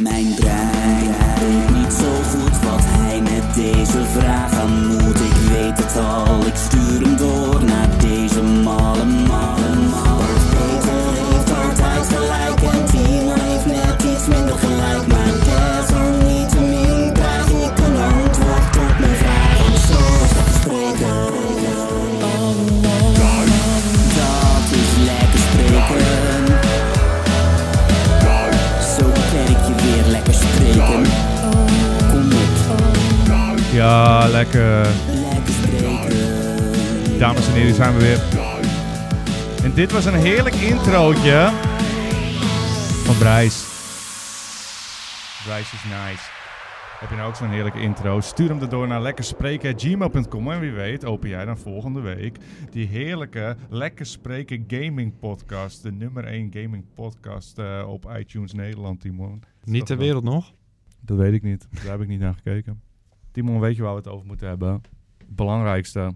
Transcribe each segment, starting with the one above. Mijn brein weet niet zo goed wat hij met deze vraag aan moet. Ik weet het al, ik stuur hem door naar deze malle, malle, malle. Peter heeft altijd gelijk en Timon heeft net iets minder gelijk. Maar desalniettemin krijg ik een antwoord op mijn vraag. En zo spreken. Dat is lekker spreken. Zo ken ik je weer lekker spreken. Kom op, Ja, lekker. lekker spreken. Dames en heren, hier zijn we weer. En dit was een heerlijk introotje van Brijs. Brijs is nice. Heb je nou ook zo'n heerlijke intro? Stuur hem erdoor naar lekkerspreken.gmail.com. En wie weet open jij dan volgende week die heerlijke Lekker Spreken Gaming Podcast. De nummer 1 gaming podcast eh, op iTunes Nederland, Timon. Niet ter Dat- wereld nog. Dat weet ik niet. Daar heb ik niet naar gekeken. Timon, weet je waar we het over moeten hebben? Het belangrijkste.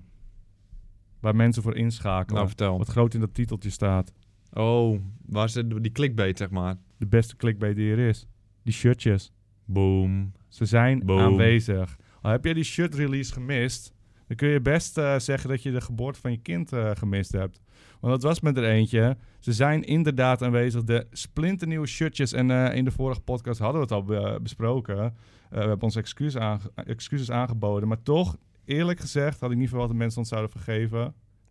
Waar mensen voor inschakelen. Nou, vertel. wat groot in dat titeltje staat. Oh, waar zit die clickbait, zeg maar? De beste clickbait die er is. Die shirtjes. Boom. Ze zijn Boom. aanwezig. Al heb jij die shirt release gemist, dan kun je best eh, zeggen dat je de geboorte van je kind eh, gemist hebt. Want dat was met er eentje. Ze zijn inderdaad aanwezig. De splinternieuwe shirtjes. En eh, in de vorige podcast hadden we het al be- besproken. Eh, we hebben onze excuus aange- excuses aangeboden. Maar toch, eerlijk gezegd, had ik niet verwacht dat mensen ons zouden vergeven.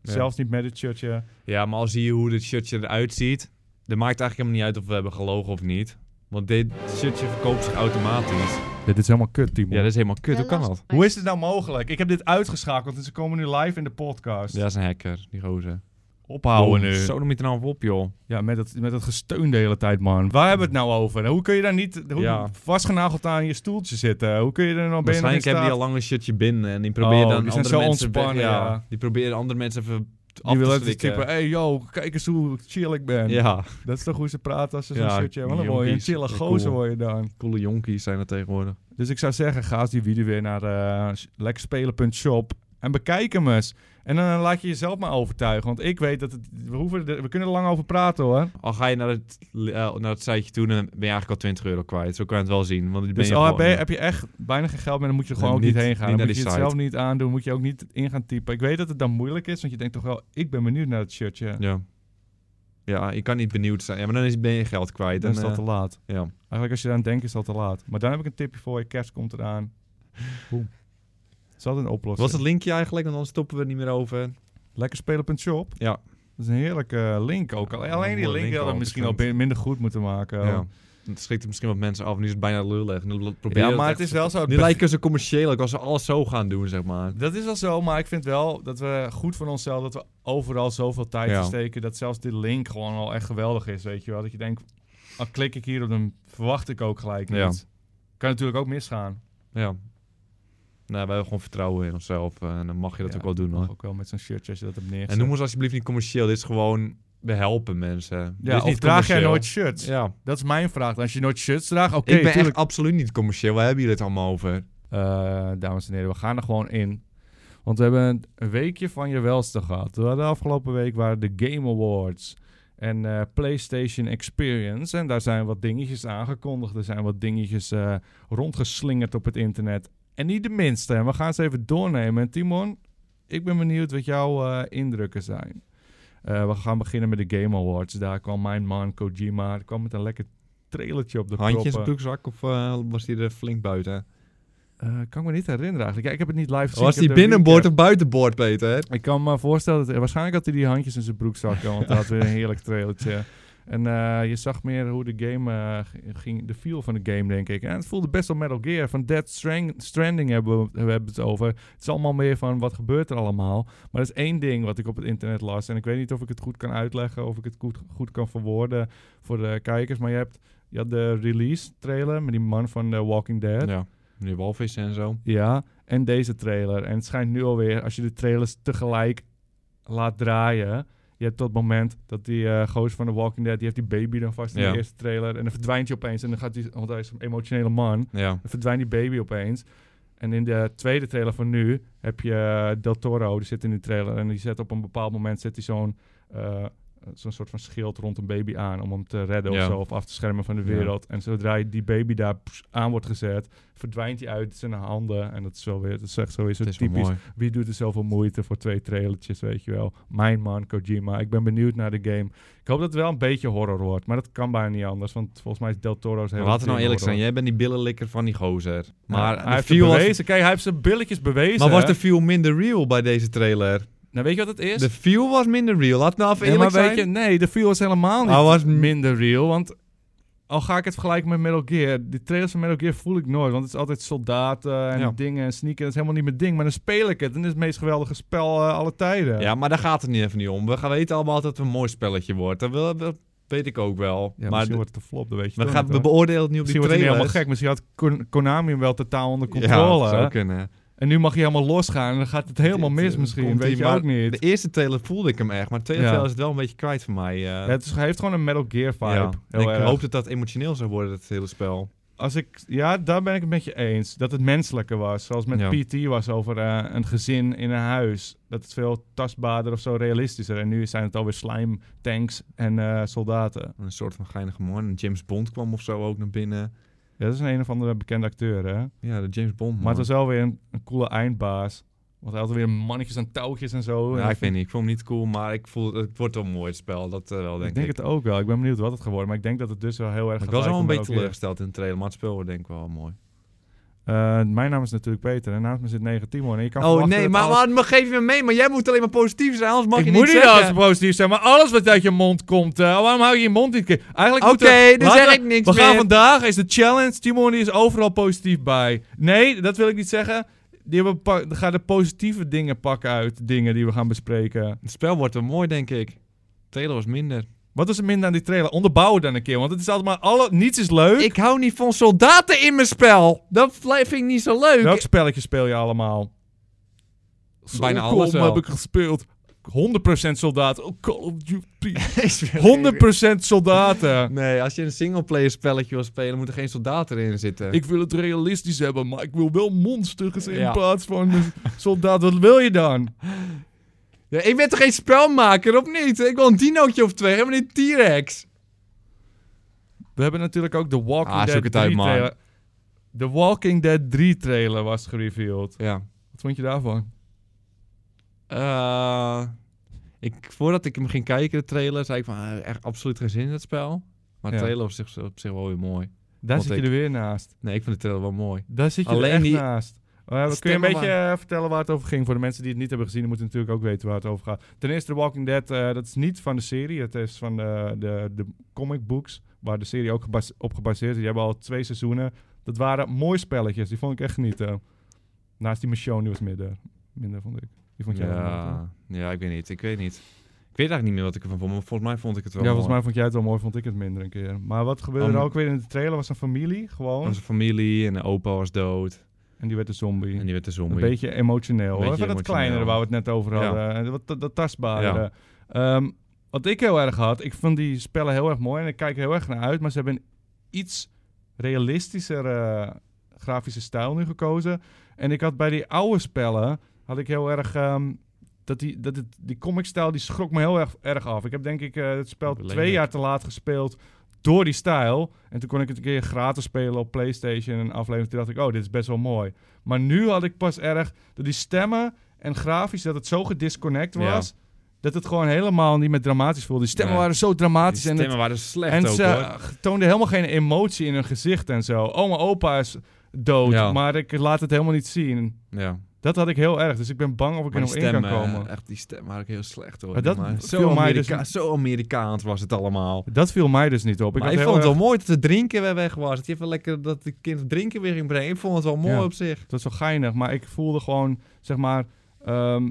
Ja. Zelfs niet met het shirtje. Ja, maar al zie je hoe dit shirtje eruit ziet, dan maakt het eigenlijk helemaal niet uit of we hebben gelogen of niet. Want dit shirtje verkoopt zich automatisch. Dit is helemaal kut, Timo. Ja, dat is helemaal kut. Hoe kan dat? Hoe is dit nou mogelijk? Ik heb dit uitgeschakeld en ze komen nu live in de podcast. Ja, dat is een hacker, die gozer. Ophouden Boom. nu. Zo noem je het nou op, joh. Ja, met dat, met dat gesteun de hele tijd, man. Waar hebben we het nou over? Hoe kun je daar niet hoe, Ja. vastgenageld aan je stoeltje zitten? Hoe kun je er nou bij Waarschijnlijk hebben die al lang een shirtje binnen en die proberen Oh, dan die zijn andere zo mensen... weg- ontspannen, ja. Die proberen andere mensen even af Die te willen altijd schrikken. tippen. Hey yo, kijk eens hoe chill ik ben. Ja, Dat is toch hoe ze praten als ze zo'n Ja, shirtje hebben. Dan die word je een jonkies. chille Ja, gozer cool. word je dan. coole jonkies zijn dat tegenwoordig. Dus ik zou zeggen, ga eens die video weer naar eh, sh- lekkerspelen.shop en bekijk hem eens. En dan eh, laat je jezelf maar overtuigen. Want ik weet dat het, we, hoeven er, we kunnen er lang over praten hoor. Al ga je naar het, eh, naar het siteje toe, dan ben je eigenlijk al 20 euro kwijt. Zo kan je het wel zien. Want die ben Dus je al gewoon- eh, heb je, heb je echt bijna geen geld meer, dan moet je er gewoon Nee, ook niet, niet- heen gaan. niet dan naar moet je die het site. zelf niet aandoen, moet je ook niet in gaan typen. Ik weet dat het dan moeilijk is, want je denkt toch wel, ik ben benieuwd naar het shirtje. Ja. Ja, je kan niet benieuwd zijn. Ja, maar dan is, ben je geld kwijt. dan En, is dat eh, te laat. ja. Eigenlijk als je eraan denkt, is dat te laat. Maar dan heb ik een tipje voor je, kerst komt eraan. Boom. Dat is altijd een Wat oplossing. was het linkje eigenlijk? Want anders stoppen we er niet meer over. Lekkerspelen.shop. Ja. Dat is een heerlijke link ook. Ja, Alleen, een alleen die mooie link link hadden we al, misschien al bekend. bin- minder goed moeten maken. Ja. Het schrikt er misschien wat mensen af. Nu is het bijna lullig. Nu, probeer Ja, je maar echt- het is wel zo. het Nu be- lijken ze commercieel ook als ze alles zo gaan doen, zeg maar. Dat is wel zo, maar ik vind wel dat we goed van onszelf dat we overal zoveel tijd Ja. in steken dat zelfs die link gewoon al echt geweldig is, weet je wel? Dat je denkt, al klik ik hier op dan verwacht ik ook gelijk Ja. niet. Kan natuurlijk ook misgaan. Ja. Nou, wij hebben gewoon vertrouwen in onszelf. eh, En dan mag je dat Ja, ook wel doen, Mag hoor. ook wel met zo'n shirtje als je dat hebt En neergezet. noem ons alsjeblieft niet commercieel. Dit is gewoon... We helpen mensen. Dit ja, is of niet draag jij commercieel. nooit shirts? Ja. Dat is mijn vraag. Als je nooit shirts draagt, oké, ik ben tuurlijk. echt absoluut niet commercieel. Waar hebben jullie het allemaal over? Eh, dames en heren, we gaan er gewoon in. Want we hebben een weekje van je welste gehad. We hadden afgelopen week waren de Game Awards en eh, PlayStation Experience. En daar zijn wat dingetjes aangekondigd. Er zijn wat dingetjes eh, rondgeslingerd op het internet. En niet de minste. En we gaan ze even doornemen. En Timon, ik ben benieuwd wat jouw eh, indrukken zijn. Eh, we gaan beginnen met de Game Awards. Daar kwam mijn man Kojima. Die kwam met een lekker trailertje op de Handjes in proppen. zijn broekzak of eh, was hij er flink buiten? Eh, kan ik me niet herinneren eigenlijk. Ja, ik heb het niet live gezien. was Ik heb hij de recap. binnenboord of buitenboord, Peter? Ik kan me voorstellen, dat, waarschijnlijk had hij die handjes in zijn broekzak, want hij had weer een heerlijk trailertje. En eh, je zag meer hoe de game eh, g- ging, de feel van de game, denk ik. En het voelde best wel Metal Gear. Van Dead Strang- Stranding hebben we, we hebben het over. Het is allemaal meer van wat gebeurt er allemaal. Maar dat is één ding wat ik op het internet las. En ik weet niet of ik het goed kan uitleggen, of ik het goed, goed kan verwoorden voor de kijkers. Maar je hebt je had de release trailer met die man van The Walking Dead. Ja, meneer Walvis en zo. Ja, en deze trailer. En het schijnt nu alweer, als je de trailers tegelijk laat draaien. Je hebt tot het moment dat die eh gozer van The Walking Dead, die heeft die baby dan vast in Ja. de eerste trailer. En dan verdwijnt hij opeens. En dan gaat die, want hij is een emotionele man. Ja. Dan verdwijnt die baby opeens. En in de tweede trailer van nu heb je Del Toro, die zit in die trailer. En die zet op een bepaald moment zet hij zo'n eh, zo'n soort van schild rond een baby aan om hem te redden Ja. of zo, of af te schermen van de Ja. wereld. En zodra je die baby daar pss, aan wordt gezet, verdwijnt hij uit zijn handen. En dat is wel weer, dat is echt zo, is het Het is wel typisch. mooi. Wie doet er zoveel moeite voor twee trailertjes, weet je wel. Mijn man, Kojima. Ik ben benieuwd naar de game. Ik hoop dat het wel een beetje horror wordt, maar dat kan bijna niet anders, want volgens mij is Del Toro's Maar hele laten we nou team eerlijk zijn, horror. jij bent die billenlikker van die gozer. Maar Ja, de hij heeft het feel was- bewezen. Kijk, hij heeft zijn billetjes bewezen. maar was hè? de feel minder real bij deze trailer? Nou, weet je wat het is? De feel was minder real. Laat nou even Nee, maar eerlijk weet je, zijn. nee, de feel is helemaal niet Hij was minder real. Want al ga ik het vergelijken met Metal Gear. Die trailers van Metal Gear voel ik nooit. Want het is altijd soldaten en Ja. dingen en sneaken. Dat is helemaal niet mijn ding. Maar dan speel ik het. En het is het meest geweldige spel eh alle tijden. Ja, maar daar gaat het niet even niet om. We gaan weten allemaal dat het een mooi spelletje wordt. Dat, wil- dat weet ik ook wel. Ja, maar misschien de- wordt het een flop, dat weet je we, toch gaan, niet, we hoor. beoordelen het niet op die Misschien wordt hij niet trailer. helemaal gek. Misschien had Kon- Konami hem wel totaal onder controle. Ja, dat zou kunnen. en nu mag hij helemaal losgaan. En dan gaat het helemaal Dit, mis eh, misschien. komt Weet hij je maar- ook niet. De eerste trailer voelde ik hem echt, maar de tweede Ja. trailer is het wel een beetje kwijt voor mij. eh. Ja, het is, hij heeft gewoon een Metal Gear vibe. Ja. En Heel Ik erg. hoop dat dat emotioneel zou worden, het hele spel. als ik, ja, daar ben ik het met je eens. Dat het menselijker was. Zoals met Ja. PT was over eh, een gezin in een huis. Dat het veel tastbaarder of zo realistischer. En nu zijn het alweer slime, tanks en eh, soldaten. Een soort van geinige man. James Bond kwam of zo ook naar binnen. Ja, dat is een een of andere bekende acteur, hè? Ja, de James Bond. Maar het man. was wel weer een, een coole eindbaas. Want hij had weer mannetjes en touwtjes en zo. Ja, En ik weet niet. Ik vond hem niet cool, maar ik voel het wordt wel een mooi spel. Dat eh, wel, ik denk ik. denk het ook wel. Ik ben benieuwd wat het geworden. Maar ik denk dat het dus wel heel erg Maar ik was gelijk wel een komt beetje elke keer. teleurgesteld in de trailer, maar het spel wordt denk ik wel mooi. Eh, mijn naam is natuurlijk Peter. En naast me zit 19 Timon. En je kan Oh verwachten nee, dat maar, alles- maar, maar geef je me mee, maar jij moet alleen maar positief zijn, anders mag ik je moet niet niet zeggen. als positief zijn, maar alles wat uit je mond komt. eh, waarom hou je je mond niet keer? Eigenlijk Oké, moeten we- dan laten zeg we- ik niks We gaan meer. vandaag, is de challenge. Timon die is overal positief bij. Nee, dat wil ik niet zeggen. Die hebben pa- gaan de positieve dingen pakken uit de dingen die we gaan bespreken. Het spel wordt wel mooi, denk ik. De trailer was minder. Wat is er minder aan die trailer? Onderbouwen dan een keer, want het is altijd maar alle, niets is leuk. Ik hou niet van soldaten in mijn spel. Dat vind ik niet zo leuk. Welk spelletje speel je allemaal? Bijna Solcom alles wel. heb ik gespeeld. 100% soldaat. Oh, Call of Duty. Ik speel- 100% soldaten. Nee, als je een singleplayer spelletje wil spelen, moet er geen soldaten erin zitten. Ik wil het realistisch hebben, maar ik wil wel monsters in Ja. plaats van een soldaat. Wat wil je dan? Ja, ik ben toch geen spelmaker, of niet? Ik wil een dinootje of twee, helemaal niet T-Rex. We hebben natuurlijk ook de Walking Ah, zoek Dead het 3 uit, man. trailer. De Walking Dead 3 trailer was gereveeld. Ja. Wat vond je daarvan? Eh, ik, voordat ik hem ging kijken, de trailer, zei ik van, eh, echt absoluut geen zin in dat spel. Maar de Ja. trailer op zich, op zich wel weer mooi. Daar Vond zit je ik. er weer naast. Nee, ik vind de trailer wel mooi. Daar zit je Alleen er echt die naast. Eh, kun je een stemmen beetje eh, vertellen waar het over ging? Voor de mensen die het niet hebben gezien, die moeten natuurlijk ook weten waar het over gaat. Ten eerste, The Walking Dead, eh, dat is niet van de serie. Het is van de, de, de comic books, waar de serie ook gebase- op gebaseerd is. Die hebben al twee seizoenen. Dat waren mooie spelletjes, die vond ik echt genieten. Naast die Michonne, die was minder. Minder vond ik. Die vond jij wel mooi, toch? Ja, ja, ik weet niet, ik weet niet. Ik weet eigenlijk niet meer wat ik ervan vond, maar volgens mij vond ik het wel Ja, volgens mooi. mij vond jij het wel mooi, vond ik het minder een keer. Maar wat gebeurde er Am- ook weer in de trailer? Was een familie, gewoon. Onze familie en de opa was dood. En die werd een zombie. En die werd dus de zombie. Een beetje emotioneel. Een hoor. beetje Even dat emotioneel. kleinere waar we het net over Ja. hadden. En Wat, dat, dat tastbare. Ehm, wat ik heel erg had, ik vond die spellen heel erg mooi en ik kijk er heel erg naar uit. Maar ze hebben een iets realistischer eh, grafische stijl nu gekozen. En ik had bij die oude spellen, had ik heel erg... ehm, dat die, dat het, die comicstijl die schrok me heel erg, erg af. Ik heb denk ik eh, het spel Lelijk. twee jaar te laat gespeeld door die stijl. En toen kon ik het een keer gratis spelen op Playstation en aflevering. Toen dacht ik, oh, dit is best wel mooi. Maar nu had ik pas erg dat die stemmen en grafisch, dat het zo gedisconnect Ja. was. Dat het gewoon helemaal niet meer dramatisch voelde. Die stemmen Nee. waren zo dramatisch. Die En, stemmen het, waren slecht en ook, ze hoor. eh, toonden helemaal geen emotie in hun gezicht en zo. Oh, mijn opa is dood, Ja. maar ik laat het helemaal niet zien. Ja. Dat had ik heel erg. Dus ik ben bang of ik Maar er die nog in kan stemmen, komen. eh, echt, die stem waren ook heel slecht hoor. Maar dat Maar viel zo, mij Amerika dus- zo Amerikaans was het allemaal. Dat viel mij dus niet op. Ik, Ik maar had ik heel vond het erg- wel mooi dat de drinken weer weg was. Dat je even lekker dat de kind drinken weer ging brengen. Ik vond het wel mooi Ja. op zich. Het was zo geinig, maar ik voelde gewoon, zeg maar... ehm,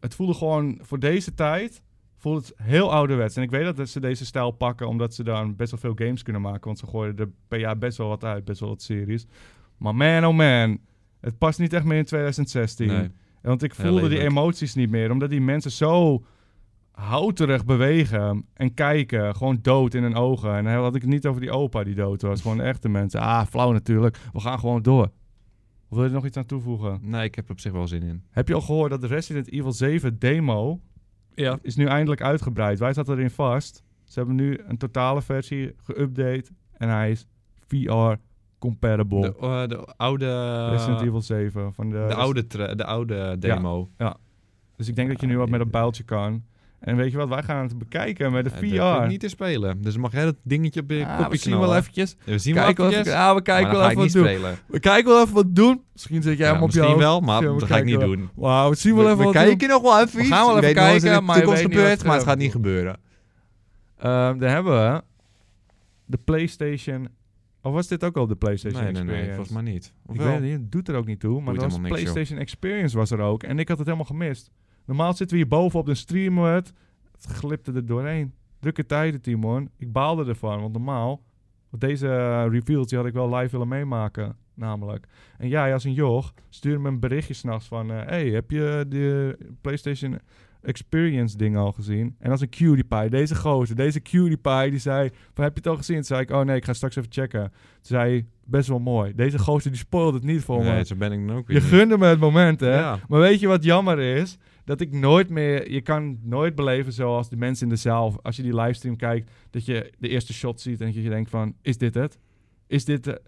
het voelde gewoon, voor deze tijd, voelde het heel ouderwets. En ik weet dat ze deze stijl pakken, omdat ze dan best wel veel games kunnen maken. Want ze gooien er per jaar best wel wat uit, best wel wat series. Maar man, oh man, het past niet echt meer in 2016. Want ik Ja, voelde die lelijk. emoties niet meer, omdat die mensen zo houterig bewegen en kijken, gewoon dood in hun ogen. En dan had ik het niet over die opa die dood was, gewoon de echte mensen. Ah, flauw natuurlijk, we gaan gewoon door. Of wil je er nog iets aan toevoegen? Nee, ik heb er op zich wel zin in. Heb je al gehoord dat de Resident Evil 7 demo ja. is nu eindelijk uitgebreid. Wij zaten erin vast. Ze hebben nu een totale versie geüpdate. En hij is VR-compatible. De, eh, de oude... Resident Evil eh, 7. Van de, De oude, tra- de oude demo. Eh, Dus ik denk dat je nu wat met een pijltje kan. En weet je wat, wij gaan het bekijken met de Eh, VR. dat kan ik niet in spelen. Dus mag jij dat dingetje op je Ah, kopje we zien knallen. wel eventjes. Ja, we zien Kijk wel wel eventjes. even, ah, we kijken maar wel dan ga even ik wat niet doen. spelen. We kijken wel even wat doen. Misschien zet jij Ja, hem op je misschien hoofd. wel, maar Misschien dat we ga ik niet kijken doen. Wauw, we zien wel even wat doen. nog wel even We gaan wel Ik even weet nooit wat kijken, maar je weet niet wat eh, er gebeuren. Ehm, daar hebben we de PlayStation. Of was dit ook al de Nee, PlayStation nee, nee, Experience? volgens mij niet. Of Ik wel? weet het niet, het doet er ook niet toe. Maar Boeit dat was helemaal niks, joh. PlayStation Experience was er ook. En ik had het helemaal gemist. Normaal zitten we hier boven op de stream. Het, het glipte er doorheen. Drukke tijden, Timon. Ik baalde ervan. Want normaal, want deze eh, reveals die had ik wel live willen meemaken. Namelijk. En jij als een joch stuurde me een berichtje s'nachts van... eh, hey, heb je de PlayStation Experience ding al gezien? En als een PewDiePie, deze gozer, deze PewDiePie, die zei... Van, heb je het al gezien? Toen zei ik, oh nee, ik ga straks even checken. Toen zei hij, best wel mooi. Deze gozer die spoilde het niet voor Nee, me. zo ben ik dan ook weer Je niet. gunde me het moment, hè? Ja. Maar weet je wat jammer is? Dat ik nooit meer... Je kan nooit beleven zoals de mensen in de zaal... Als je die livestream kijkt, dat je de eerste shot ziet... en dat je denkt van, is dit het? Is dit de-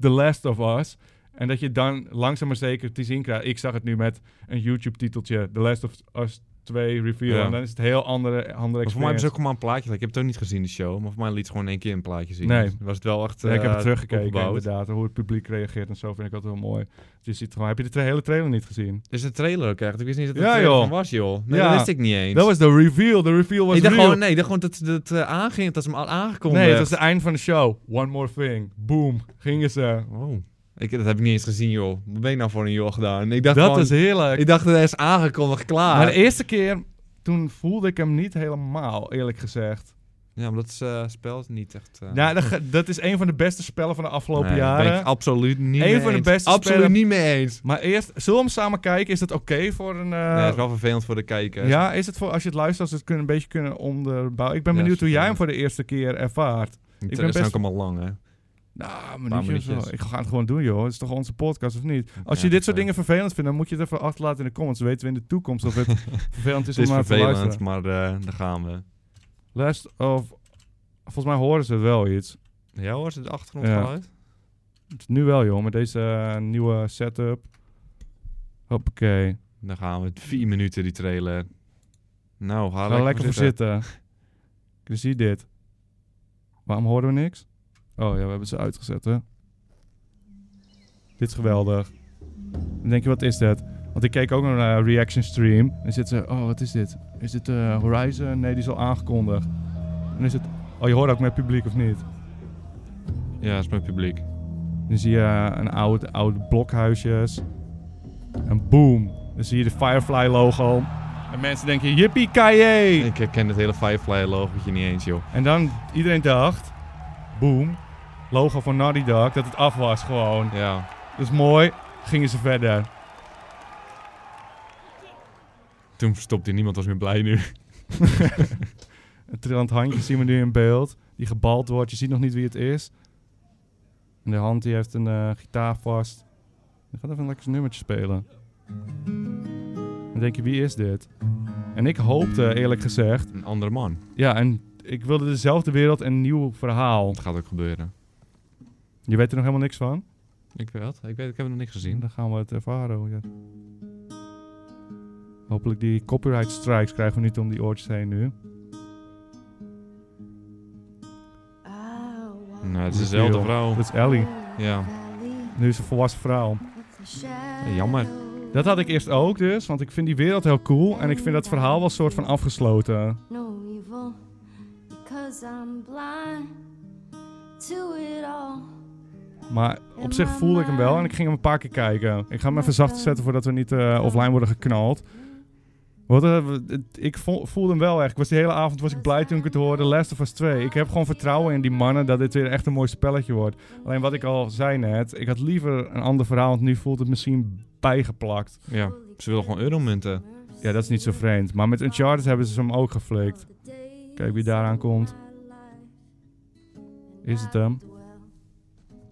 The Last of Us? En dat je dan langzaam maar zeker te zien krijgt... Ik zag het nu met een YouTube-titeltje... The Last of Us 2 reveal. Ja. En dan is het een heel andere, andere Maar voor mij hebben experience. ze ook allemaal een plaatje. Ik heb het ook niet gezien, de show. Maar voor mij liet ze gewoon één keer een plaatje zien. Nee. Dus was het wel echt Ja, ik heb eh, het teruggekeken opgebouwd. inderdaad. Hoe het publiek reageert en zo vind ik altijd wel mooi. Dus je ziet gewoon... Heb je de tra- hele trailer niet gezien? Is een trailer ook echt? Ik wist niet dat het Ja, een trailer joh. van was, joh. Nee, Ja. dat wist ik niet eens. Dat was de reveal. De reveal was ik dacht real. gewoon, nee, ik dacht gewoon dat dat eh, aanging, dat ze hem al aangekondigd nee, het was het einde van de show. One more thing. Boom. Gingen ze. Oh. Ik, dat heb ik niet eens gezien, joh. Wat ben ik nou voor een joh gedaan? Ik dacht Dat gewoon, is heerlijk. ik dacht, dat is aangekondigd, klaar. maar e- de eerste keer, toen voelde ik hem niet helemaal, eerlijk gezegd. Ja, maar dat is, eh, spel is niet echt... eh, Ja, dat, ge- dat is een van de beste spellen van de afgelopen nee, dat ben jaren. ik absoluut niet Eén mee van de eens. beste Eh, Absoluut spellen. niet mee eens. Maar eerst, zullen we hem samen kijken? Is dat oké voor een... eh, Nee, dat is wel vervelend voor de kijkers. ja, is het voor als je het luistert, als we het kunnen, een beetje kunnen onderbouwen? Ik ben Ja, benieuwd hoe jij hem vervelend. voor de eerste keer ervaart. ik ben ben best... best- ook allemaal lang, hè. Nou, een minuutje of zo. minuutjes. Ik ga het gewoon doen, joh. Het is toch onze podcast, of niet? Als Ja, eh, je dit dat soort is dingen vervelend vindt, dan moet je het even achterlaten in de comments. Dan weten we in de toekomst of het vervelend is Het om is naar te luisteren. vervelend, maar eh, daar gaan we. Last of... Volgens mij horen ze wel iets. Ja hoor, is het achtergrondgeluid? achtergrondgeluid? Het is Nu wel, joh, met deze eh, nieuwe setup. Hoppakee. Dan gaan we. Vier minuten, die trailer. Nou, ga, Ga er lekker voor zitten. Ik zie dit. Waarom horen we niks? Oh ja, we hebben ze uitgezet, hè. Dit is geweldig. Dan denk je, wat is dat? Want ik keek ook naar een eh, reaction stream. En zit ze, oh, wat is dit? Is dit eh, Horizon? Nee, die is al aangekondigd. En is het, oh, je hoort ook met publiek of niet? Ja, dat is mijn publiek. Dan zie je een oud, oud blokhuisjes. En boom. Dan zie je de Firefly logo. En mensen denken, yippie kaye. Ik herken het hele Firefly-logotje niet eens, joh. En dan, iedereen dacht, boom, logo van Naughty Dog, dat het af was gewoon. Ja. Dus mooi, gingen ze verder. Toen stopte hij, niemand was meer blij nu. Een trillend handje zien we nu in beeld, die gebald wordt, je ziet nog niet wie het is. En de hand die heeft een eh, gitaar vast. Dan gaat even een lekker nummertje spelen. Dan denk je, wie is dit? En ik hoopte eerlijk gezegd, Een andere man. ja, en ik wilde dezelfde wereld en een nieuw verhaal. Dat gaat ook gebeuren. Je weet er nog helemaal niks van? Ik weet het. Ik, weet, ik heb het nog niet En gezien. Dan gaan we het ervaren. hoor, Ja. Hopelijk die copyright strikes krijgen we niet om die oortjes heen nu. Oh, Nou, het is Niet dezelfde veel. vrouw. Dat is Ellie. Ja. Nu is ze een volwassen vrouw. Jammer. Dat had ik eerst ook dus, want ik vind die wereld heel cool. En ik vind dat verhaal wel soort van afgesloten. no evil because I'm blind to it all. Maar op zich voelde ik hem wel en ik ging hem een paar keer kijken. Ik ga hem even zacht zetten voordat we niet eh, offline worden geknald. Wat, eh, w- het- ik vo- voelde hem wel echt. Ik was de hele avond was ik blij toen ik het hoorde. Last of Us 2. Ik heb gewoon vertrouwen in die mannen dat dit weer echt een mooi spelletje wordt. Alleen wat ik al zei net. Ik had liever een ander verhaal, want nu voelt het misschien bijgeplakt. Ja. Ze willen gewoon euromunten. Ja, dat is niet zo vreemd. Maar met Uncharted hebben ze hem ook geflikt. Kijk wie daaraan komt. Is het hem?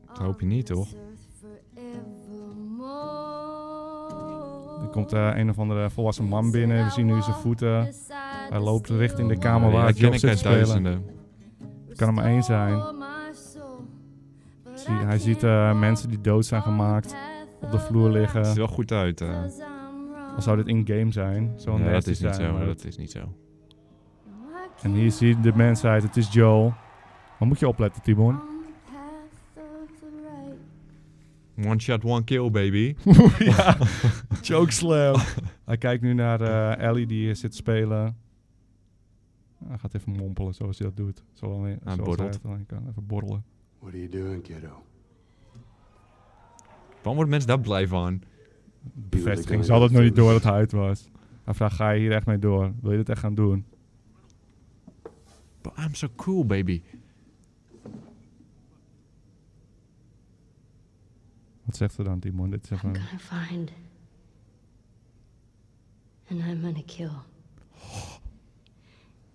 Dat hoop je niet, toch? eh, Er komt eh, een of andere volwassen man binnen. We zien nu zijn voeten. Hij loopt richting de kamer waar Ja, het ken Job ik zit te uit spelen. duizenden. Het kan er maar één zijn. Zie- hij ziet eh, mensen die dood zijn gemaakt op de vloer Het ziet liggen. er wel goed uit. eh. Al zou dit in-game zijn. Zo Ja, dat nasty is niet zijn, zo. maar Dat is niet zo. En hier zie je de mensheid. Het is Joel. Maar moet je opletten, Timon. One shot, one kill, baby. ja, jokeslam. Hij kijkt nu naar eh, Ellie die hier zit te spelen. Hij gaat even mompelen zoals hij dat doet. Zolang hij, zoals borrelt. Hij het alleen kan. Even borrelen. What are you doing, kiddo? Waarom wordt mensen daar blij van? Bevestiging. Ze had het nog niet door dat hij uit was. Hij vraagt, ga je hier echt mee door? Wil je dit echt gaan doen? But I'm so cool, baby. Wat zegt ze dan, Timon? Dit is I'm even... gonna find. And I'm gonna kill.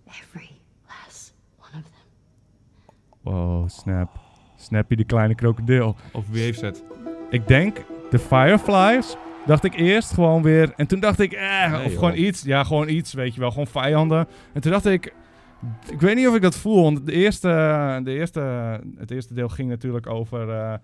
Every last one of them. Wow, snap. Snappy de kleine krokodil. Of wie heeft het? Ik denk de Fireflies. Dacht ik eerst gewoon weer. En toen dacht ik, eh, Nee, of joh. gewoon iets. Ja, gewoon iets, weet je wel. Gewoon vijanden. En toen dacht ik, ik weet niet of ik dat voel. Want de eerste, de eerste, het eerste deel ging natuurlijk over eh,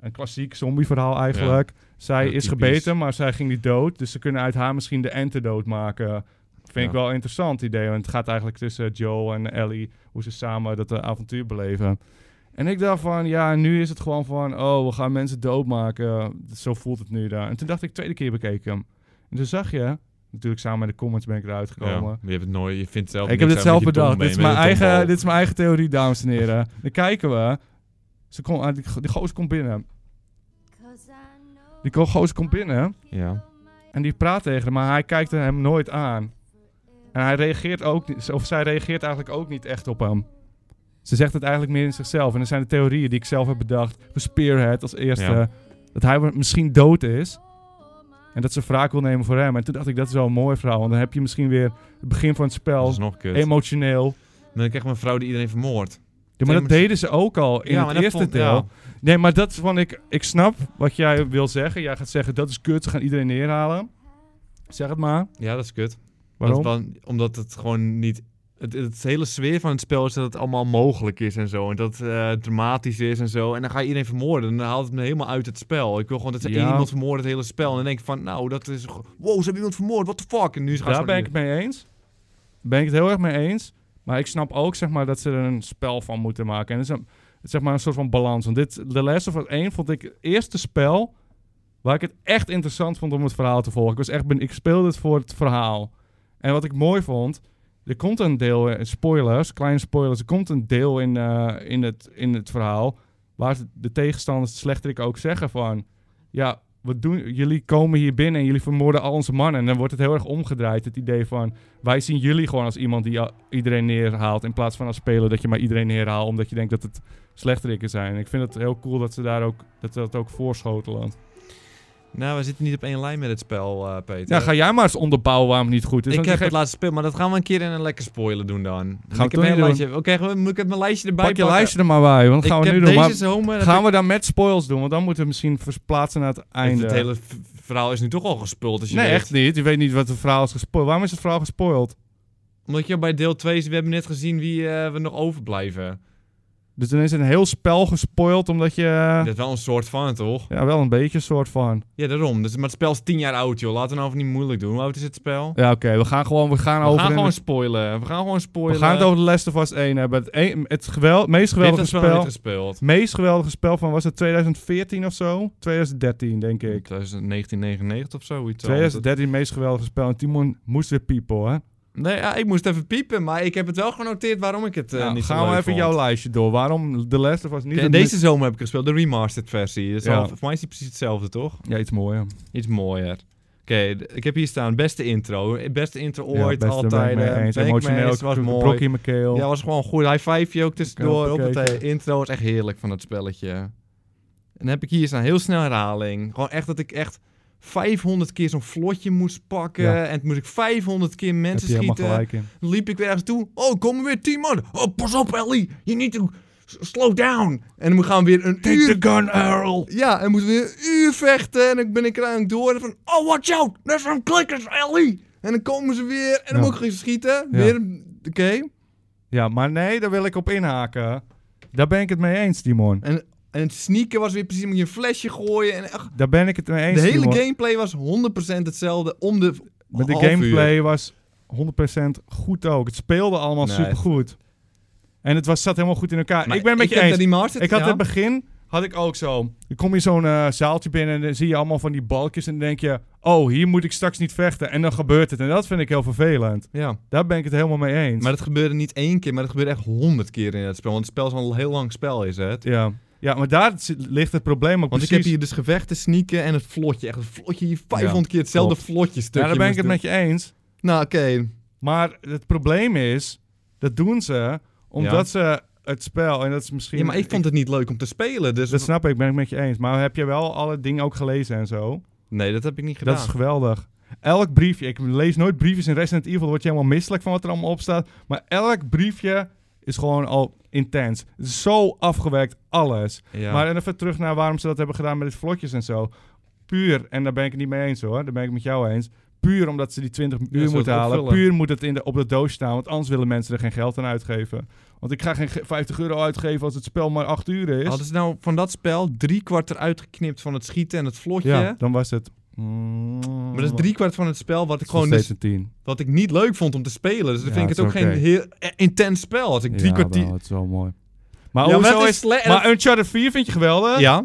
een klassiek zombieverhaal eigenlijk. Zij Ja, is typisch. gebeten, maar zij ging niet dood. Dus ze kunnen uit haar misschien de antidote maken. Vind ik Ja. wel een interessant idee. Want het gaat eigenlijk tussen Joe en Ellie... hoe ze samen dat eh, avontuur beleven. En ik dacht van, ja, nu is het gewoon van... oh, we gaan mensen doodmaken. Zo voelt het nu daar. En toen dacht ik, tweede keer bekeken hem. En toen zag je... natuurlijk samen met de comments ben ik eruit Ja, gekomen... je hebt het nooit. Je vindt het zelf Ik heb dit niks aan zelf dat je bedacht. dom Dit bent is, met mijn een eigen, tombal. dit is mijn eigen theorie, dames en heren. Dan kijken we. Ze kom, ah, die, go- die gozer komt binnen. Die ko- gozer komt binnen Ja. en die praat tegen hem, maar hij kijkt hem nooit aan. En hij reageert ook niet, of zij reageert eigenlijk ook niet echt op hem. Ze zegt het eigenlijk meer in zichzelf. En er zijn de theorieën die ik zelf heb bedacht. Voor Spearhead als eerste. Ja. Dat hij wa- misschien dood is. En dat ze wraak wil nemen voor hem. En toen dacht ik, dat is wel een mooi verhaal. Want dan heb je misschien weer het begin van het Dat spel. is nog kut. Emotioneel. Dan krijg je een vrouw die iedereen vermoordt. Ja, maar Nee, dat maar- deden ze ook al in maar het dat eerste vond- deel. ja. Nee, maar dat is van ik, ik snap wat jij wil zeggen. Jij gaat zeggen dat is kut, ze gaan iedereen neerhalen. Zeg het maar. Ja, dat is kut. Waarom? Dat is wel- omdat het gewoon niet... Het, het hele sfeer van het spel is dat het allemaal mogelijk is en zo. En dat het eh, dramatisch is en zo. En dan ga je iedereen vermoorden. En dan haalt het me helemaal uit het spel. Ik wil gewoon dat ze Ja. één iemand vermoorden het hele spel. En dan denk ik van, nou, dat is... gewoon- Wow, ze hebben iemand vermoord. What the fuck? En nu is Daar ben ik het mee eens. Ben ik het heel erg mee eens. Maar ik snap ook zeg maar, dat ze er een spel van moeten maken. En het is een, zeg maar, een soort van balans. Want dit, The Last of Us 1 vond ik het eerste spel waar ik het echt interessant vond om het verhaal te volgen. Ik, was echt ben, ik speelde het voor het verhaal. En wat ik mooi vond, er komt een deel, eh, spoilers, kleine spoilers, er komt een deel in, eh, in, het, in het verhaal waar de tegenstanders, de slechterik ook zeggen van, ja, wat doen, jullie komen hier binnen en jullie vermoorden al onze mannen. En dan wordt het heel erg omgedraaid, het idee van, wij zien jullie gewoon als iemand die al- iedereen neerhaalt, in plaats van als speler dat je maar iedereen neerhaalt, omdat je denkt dat het slechterikken zijn. En ik vind het heel cool dat ze daar ook, dat ze dat ook voorschotelen. Nou, we zitten niet op één lijn met het spel, eh, Peter. Ja, ga jij maar eens onderbouwen waarom het niet goed is. want ik heb je het geeft- laatste speel, maar dat gaan we een keer in een lekker spoiler doen dan. Gaan we ik toen heb een doen. lijstje. Oké, gewoon- moet ik het mijn lijstje erbij Pak je pakken? lijstje er maar bij, want dat gaan ik we nu heb doen. deze Maar zomer... gaan we dan met spoils doen? Want dan moeten we misschien verplaatsen naar het Het, einde. het hele v- verhaal is nu toch al gespuld. Als je nee, weet. echt niet. Je weet niet wat het verhaal is gespoild. Waarom is het verhaal gespoild? Omdat je bij deel 2 is, we hebben net gezien wie eh, we nog overblijven. Dus dan is een heel spel gespoild, omdat je... Dat is wel een soort van, toch? Ja, wel een beetje een soort van. Ja, daarom. Dus, maar het spel is 10 jaar oud, joh. Laten we nou even niet moeilijk doen. Hoe oud is het spel? Ja, oké. we gaan gewoon, we gaan we over... gaan in- gewoon spoilen. We gaan gewoon spoilen. we gaan het over de Last of Us 1 hebben. Het, een- het gewel- meest Wie heeft geweldige dat spel nog spel... niet gespeeld. meest geweldige spel van, was het 2014 of zo? 2013, denk ik. 1999 of zoiets. 2013 meest geweldige spel. En Timon moest weer people, hè? Nee, ja, ik moest even piepen, maar ik heb het wel genoteerd waarom ik het eh, Nou, niet zo gaan we leuk even vond. jouw lijstje door. Waarom The Last of Us niet... Oké, het Deze zomer heb ik gespeeld, de remastered versie. Dus Ja. al- Voor mij is die precies hetzelfde, toch? Ja, iets mooier. Iets mooier. Oké, d- ik heb hier staan, beste intro. Beste intro ja, ooit, best, daar ben altijd. ik mee eh, eens. ben ik mee Emotioneel, eens, was ik- mooi. brok in mijn keel. Ja, was gewoon een goede high five ook tussendoor. Op Oké, het oké. eh, intro was echt heerlijk van dat spelletje. En dan heb ik hier staan heel snel herhaling. Gewoon echt dat ik echt 500 keer zo'n vlotje moest pakken. Ja. En toen moest ik 500 keer Heb je mensen helemaal schieten. gelijk in. Dan liep ik weer ergens toe. Oh, komen weer 10 man. Oh, pas op Ellie. You need to s- slow down. En dan gaan we weer een uur... gun, Earl! Ja, en moeten we weer een uur vechten. En dan ben ik er eigenlijk door. En van, oh, watch out. There's some clickers, Ellie. En dan komen ze weer. En dan Ja. moet ik gaan schieten. Ja. Weer. een- Oké. Ja, maar nee, daar wil ik op inhaken. Daar ben ik het mee eens, Timon. En, en het sneaken was weer precies. Moet je een flesje gooien. En ach, Daar ben ik het mee eens, de hele Timon. gameplay was 100% hetzelfde. Om de. Maar de half uur. gameplay was 100% goed ook. Het speelde allemaal Nee. supergoed. En het was, zat helemaal goed in elkaar. Maar ik ben met je heb eens. de remastered- Ik had ja. het begin, had ik ook zo. Dan kom je zo'n eh, zaaltje binnen en dan zie je allemaal van die balkjes. En dan denk je, oh, hier moet ik straks niet vechten. En dan gebeurt het. En dat vind ik heel vervelend. Ja. Daar ben ik het helemaal mee eens. Maar dat gebeurde niet één keer, maar dat gebeurde echt honderd keer in dat spel. Want het spel is al een heel lang spel, is het? ja. ja, maar daar zit- ligt het probleem ook Want ik precies. heb hier dus gevechten, sneaken en het vlotje. Echt het vlotje hier 500 keer hetzelfde klopt. vlotje stukje. ja, daar ben ik moest het doen. met je eens. Nou, oké. Maar het probleem is, dat doen ze omdat ze het spel, en dat is misschien... Ja, maar ik vond het niet leuk om te spelen, dus... Dat snap ik, ben ik met je eens. Maar heb je wel alle dingen ook gelezen en zo? Nee, dat heb ik niet gedaan. Dat is geweldig. Elk briefje, ik lees nooit briefjes in Resident Evil, word je helemaal misselijk van wat er allemaal op staat. Maar elk briefje is gewoon al intens. Het is zo afgewerkt, alles. Ja. Maar en even terug naar waarom ze dat hebben gedaan met dit vlotjes en zo. Puur, en daar ben ik het niet mee eens hoor, daar ben ik het met jou eens. Puur omdat ze die 20 uur ze moeten dat halen. opvullen. Puur moet het in de, op de doos staan, want anders willen mensen er geen geld aan uitgeven. Want ik ga geen ge- 50 euro uitgeven als het spel maar 8 uur is. Hadden ze nou van dat spel drie kwart eruit geknipt van het schieten en het vlotje? ja, dan was het. maar Maar dat is drie kwart van het spel wat ik gewoon steeds dus, een 10. wat ik niet leuk vond om te spelen. Dus dan Ja, vind ik het dat ook is geen oké. heel eh, intens spel. Als ik drie kwartier... Het is wel mooi. Maar Ja, maar hoezo dat is... sle- Maar Uncharted 4 vind je geweldig? Ja.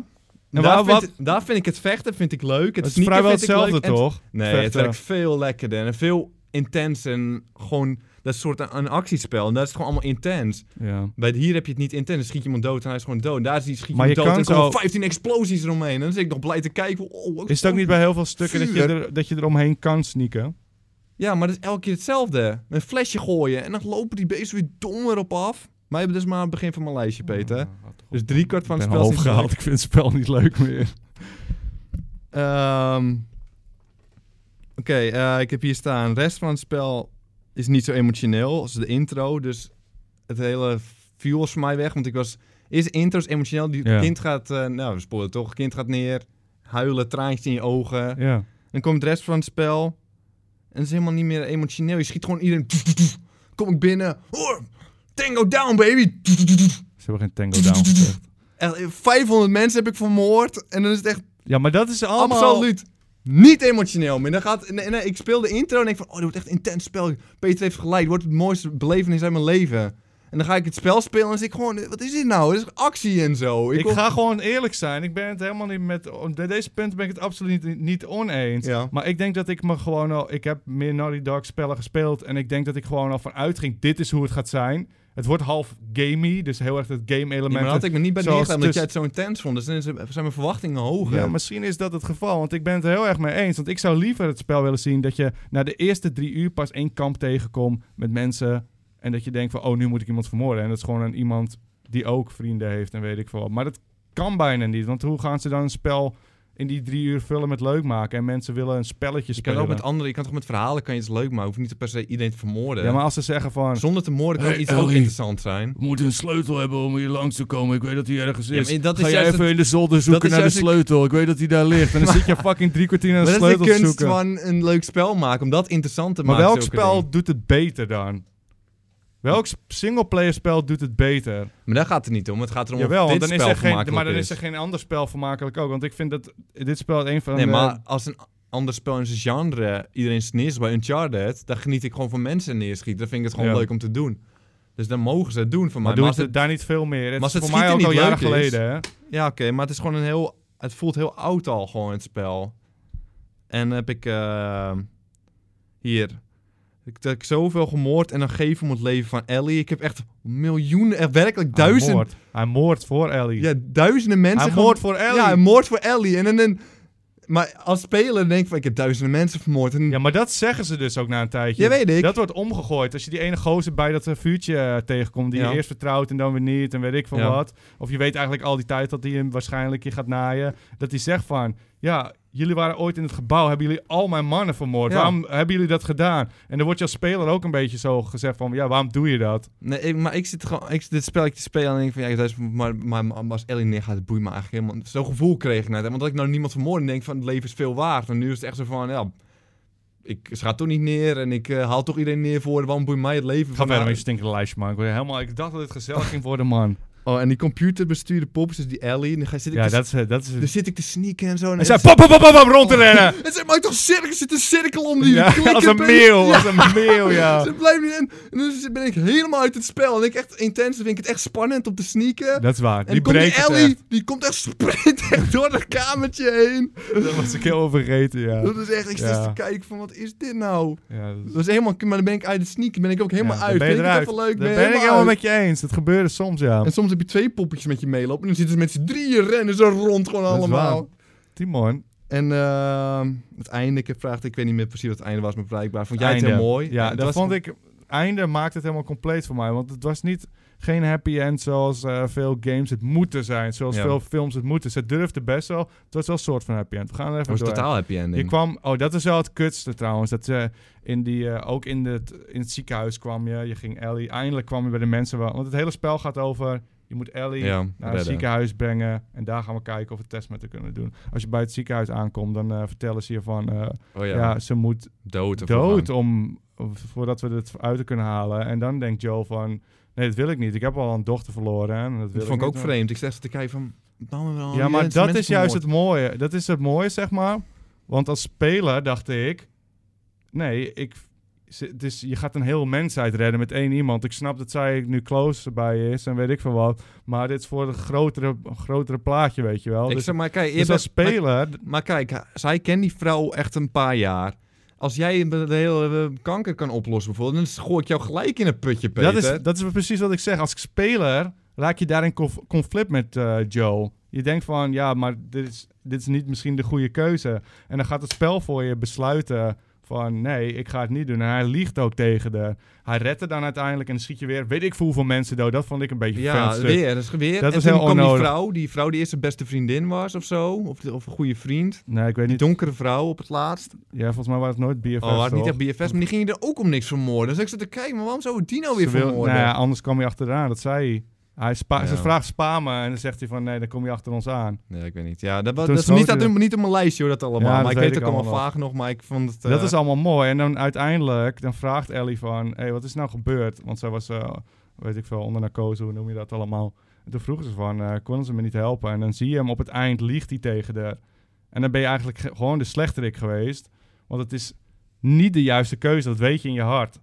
En En waar- daar, wat- vind, daar vind ik het vechten vind ik leuk. Het, Het is sneaken vrijwel vind ik hetzelfde, leuk. En- toch? Nee, het Vechten. werkt veel lekkerder en veel intens en gewoon... Dat is een soort een, een actiespel en daar is het gewoon allemaal intens. Ja. Bij hier heb je het niet intens. Dan schiet je iemand dood en hij is gewoon dood. Daar is die schiet Maar je je iemand dood kan en er komen zo- 15 explosies eromheen. En dan zit ik nog blij te kijken. Oh, wat Is het ook niet bij heel veel stukken dat je, Vuur. er, dat je eromheen kan sneaken? Ja, maar dat is elke keer hetzelfde. Een flesje gooien en dan lopen die beesten weer dom erop af. Maar dat is maar het begin van mijn lijstje, Peter. dus drie kwart van Ik het ben spel half is niet gehaald. leuk. Ik vind het spel niet leuk meer. Ehm, Oké, eh, ik heb hier staan. De rest van het spel is niet zo emotioneel als de intro. Dus het hele viel was voor mij weg. Want ik was... Eerst de intro is emotioneel. Die Ja. kind gaat... eh, nou, we spoelen toch. Kind gaat neer. Huilen, traantjes in je ogen. Ja. Dan komt de rest van het spel. En het is helemaal niet meer emotioneel. Je schiet gewoon iedereen. Kom ik binnen. Oh, tango down, baby. Ze hebben geen Tango Down gezegd. Echt, 500 mensen heb ik vermoord. En dan is het echt Ja, maar dat is allemaal... absoluut niet emotioneel meer. Dan gaat, nee, nee, ik speel de intro en denk van... Oh, dit wordt echt een intens spel. Peter heeft gelijk. Dit wordt het mooiste belevenis uit mijn leven. En dan ga ik het spel spelen en zit ik gewoon... Wat is dit nou? Dit is actie en zo. Ik wil- ga gewoon eerlijk zijn. Ik ben het helemaal niet met... op de- Deze punten ben ik het absoluut niet, niet oneens. Ja. Maar ik denk dat ik me gewoon al... Ik heb meer Naughty Dog spellen gespeeld. En ik denk dat ik gewoon al van uitging. Dit is hoe het gaat zijn. Het wordt half gamey. Dus heel erg het game element. Nee, maar dat had ik me niet bij Zoals neergelegd omdat tuss- jij het zo intens vond. Dus dan is- zijn mijn verwachtingen hoger. Ja, misschien is dat het geval. Want ik ben het er heel erg mee eens. Want ik zou liever het spel willen zien dat je na de eerste drie uur pas één kamp tegenkomt met mensen. En dat je denkt van, oh, nu moet ik iemand vermoorden. En dat is gewoon een iemand die ook vrienden heeft en weet ik veel wat. Maar dat kan bijna niet. Want hoe gaan ze dan een spel in die drie uur vullen met leuk maken? En mensen willen een spelletje Je kan spelen. ook met anderen, je kan toch met verhalen kan je iets leuk maken. Hoeft niet per se iedereen te vermoorden. ja, maar als ze zeggen van... Zonder te moorden kan Hey, iets Ellie. ook interessant zijn. We moeten een sleutel hebben om hier langs te komen. Ik weet dat hij ergens Ja, maar dat is juist het- in de zolder is juist het- sleutel. Ik weet dat hij daar ligt. En dan zit je fucking drie kwartier naar Maar de dat is sleutel de te kunst zoeken. van een leuk spel maken, om dat interessant te Maar maken. welk zulke spel dingen. doet het beter dan? Welk sp- singleplayer spel doet het beter? Maar daar gaat het niet om. Het gaat erom Jawel, of want dit dan is spel er geen, vermakelijk maar dan is er geen ander spel vermakelijk ook. Want ik vind dat dit spel een van Nee, de... maar als een ander spel in zijn genre iedereen sneers bij Uncharted, dan geniet ik gewoon van mensen neerschieten. Dan vind ik het gewoon Ja. leuk om te doen. Dus dan mogen ze het doen van mij. maar Maar doet als het, het, daar niet veel meer. Het maar als is het voor mij ook schieten al niet jaren leuk is- geleden. Hè? ja, oké, maar het is gewoon een heel... Het voelt heel oud al gewoon, het spel. En dan heb ik... eh, hier. Ik dat ik zoveel gemoord en dan geven om het leven van Ellie. Ik heb echt miljoenen, echt werkelijk Hij duizenden... moordt. Hij moordt voor Ellie. Ja, duizenden mensen. Hij gewoon- moordt voor Ellie. Ja, Ja, een moord voor Ellie. En, dan en, maar als speler denk ik van, ik heb duizenden mensen vermoord. En, maar dat zeggen ze dus ook na een tijdje. Ja, weet ik. Dat wordt omgegooid. Als je die ene gozer bij dat eh, vuurtje eh, tegenkomt... die Ja. je eerst vertrouwt en dan weer niet en weet ik van Ja. wat. Of je weet eigenlijk al die tijd dat hij hem waarschijnlijk je gaat naaien. Dat hij zegt van... Ja, jullie waren ooit in het gebouw. Hebben jullie al mijn mannen vermoord? Ja. Waarom hebben jullie dat gedaan? En dan wordt je als speler ook een beetje zo gezegd van... Ja, waarom doe je dat? Nee, ik- maar ik zit gewoon, ik zit dit spelletje te spelen en denk van, ja, ik heb duizenden- maar, maar, maar als Ellie neergaat, het boeit me eigenlijk helemaal. Zo'n gevoel kreeg ik net. hè. Want dat ik nou niemand vermoord en denk van, het leven is veel waard. En nu is het echt zo van, ja, ik schaat toch niet neer en ik eh, haal toch iedereen neer voor. Waarom boeit mij het leven? Ga van verder haar? met je stinkende lijstje, man. Ik, word helemaal, ik dacht dat het gezellig ging worden, man. Oh, en die computerbestuurde pops, dus die Ellie. En dan ga, zit ik Ja, te, dat is... eh, Dat is dan zit ik te sneaken en zo. hij zei pop, pop, pop, pop, pop, rond te rennen. En ze maakt toch cirkel, zit een cirkel om Oh. die Ja, als een meeuw, als een meeuw, ja. Ze blijft niet in. En dus ben ik helemaal uit het spel. En ik echt intens, dan vind ik het echt spannend om te sneaken. Dat is waar. en Die komt breekt die het Ellie, echt. die komt echt sprintend door dat kamertje heen. Dat was ik heel vergeten, ja. Dat is echt, ik zit Ja. te kijken van wat is dit nou? ja dat is- Dat is helemaal, maar dan ben ik uit het sneaken, ben ik ook helemaal Ja, dan uit. Ben je Vind ik eruit. het even leuk, Dan ben, ben ik helemaal uit. met je eens. Dat gebeurde soms, ja. En soms heb je twee poppetjes met je meelopen en dan zitten ze met z'n drieën rennen ze rond gewoon Dat is allemaal. waar. Timon. En ehm, het einde, ik heb gevraagd, ik weet niet meer precies wat het einde was, maar blijkbaar vond jij het Einde. heel mooi. Ja, En dat was- vond ik... Einde maakt het helemaal compleet voor mij. Want het was niet... Geen happy end zoals eh, veel games het moeten zijn. Zoals Ja. veel films het moeten. Ze durfden best wel. Het was wel een soort van happy end. We gaan er even Het was door. totaal happy ending. Je kwam, oh, dat is wel het kutste trouwens. Dat ze in die, eh, ook in, het in het ziekenhuis kwam je. Je ging Ellie. Eindelijk kwam je bij de mensen. wel- Want het hele spel gaat over. Je moet Ellie Ja, naar het redden. ziekenhuis brengen. En daar gaan we kijken of we test met haar kunnen doen. Als je bij het ziekenhuis aankomt, dan eh, vertellen ze je van. eh, Oh ja. ja, ze moet dood. of dood vergaan. om, of- voordat we het uit kunnen halen. En dan denkt Joe van. Nee, dat wil ik niet. Ik heb al een dochter verloren. En dat wil Dat vond ik ook niet. vreemd. Ik zeg te kijken van... nou, wel, Ja, die maar mensen- dat is mensen juist het vermoord. mooie. Dat is het mooie, zeg maar. Want als speler dacht ik... Nee, ik, ze- het is, je gaat een heel mensheid redden met één iemand. Ik snap dat zij nu close bij is en weet ik veel wat. Maar dit is voor het grotere, grotere plaatje, weet je wel. Ik dus zeg maar, kijk, je dus als bent- maar- speler... d- Maar, kijk, ha- zij kent die vrouw echt een paar jaar. Als jij de hele eh, kanker kan oplossen bijvoorbeeld, dan gooi ik jou gelijk in een putje, Peter. Dat is, dat is precies wat ik zeg. Als speler raak je daarin conf, conflict met eh, Joe. Je denkt van, ja, maar dit is, dit is niet misschien de goede keuze. En dan gaat het spel voor je besluiten van, nee, ik ga het niet doen. En hij liegt ook tegen de... Hij redt er dan uiteindelijk en dan schiet je weer... Weet ik voor hoeveel mensen dood. Dat vond ik een beetje ja, vervelend. weer. Dat is weer. eh, Dat en is toen heel kwam onnodig. die vrouw, die vrouw die eerst zijn beste vriendin was of zo, of, de- of een goede vriend. Nee, ik weet Die niet. donkere vrouw op het laatst. Ja, volgens mij was het nooit BFF's, Oh, had niet toch? echt BFS, maar die ging je er ook om niks vermoorden. Dus ik zat te kijken, maar waarom zou het die nou weer Ze wil- vermoorden? nou ja, anders kwam je achteraan. Dat zei hij. hij spa- Ja. Ze vraagt spamen en dan zegt hij van, nee, dan kom je achter ons aan. Nee, ik weet niet. Ja, dat, was- Toen dat is schoot niet, hij dat, er- niet op mijn lijstje hoor, dat allemaal. Ja, dat maar ik weet weet het ik ook allemaal allemaal vaag nog, maar ik vond het... Dat eh, is allemaal mooi. En dan uiteindelijk, dan vraagt Ellie van... Hé, hey, wat is nou gebeurd? Want zij was, eh, weet ik veel, onder narcose. Hoe noem je dat allemaal? En toen vroegen ze van, eh, konden ze me niet helpen? En dan zie je hem op het eind, liegt hij tegen de... En dan ben je eigenlijk ge- gewoon de slechterik geweest. Want het is niet de juiste keuze. Dat weet je in je hart.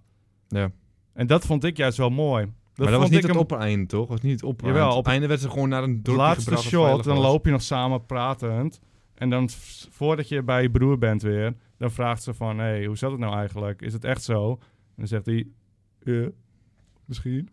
Ja. En dat vond ik juist wel mooi. Dat maar dat was vond niet ik het hem- oppereinde, toch? was niet het oppereinde. Jawel, op op- het einde werd ze gewoon naar een de dorpje laatste gebracht dat shot, veilig dan was. loop je nog samen pratend. En dan, v- voordat je bij je broer bent weer, dan vraagt ze van... Hé, hey, hoe zat het nou eigenlijk? Is het echt zo? En dan zegt hij... eh, misschien.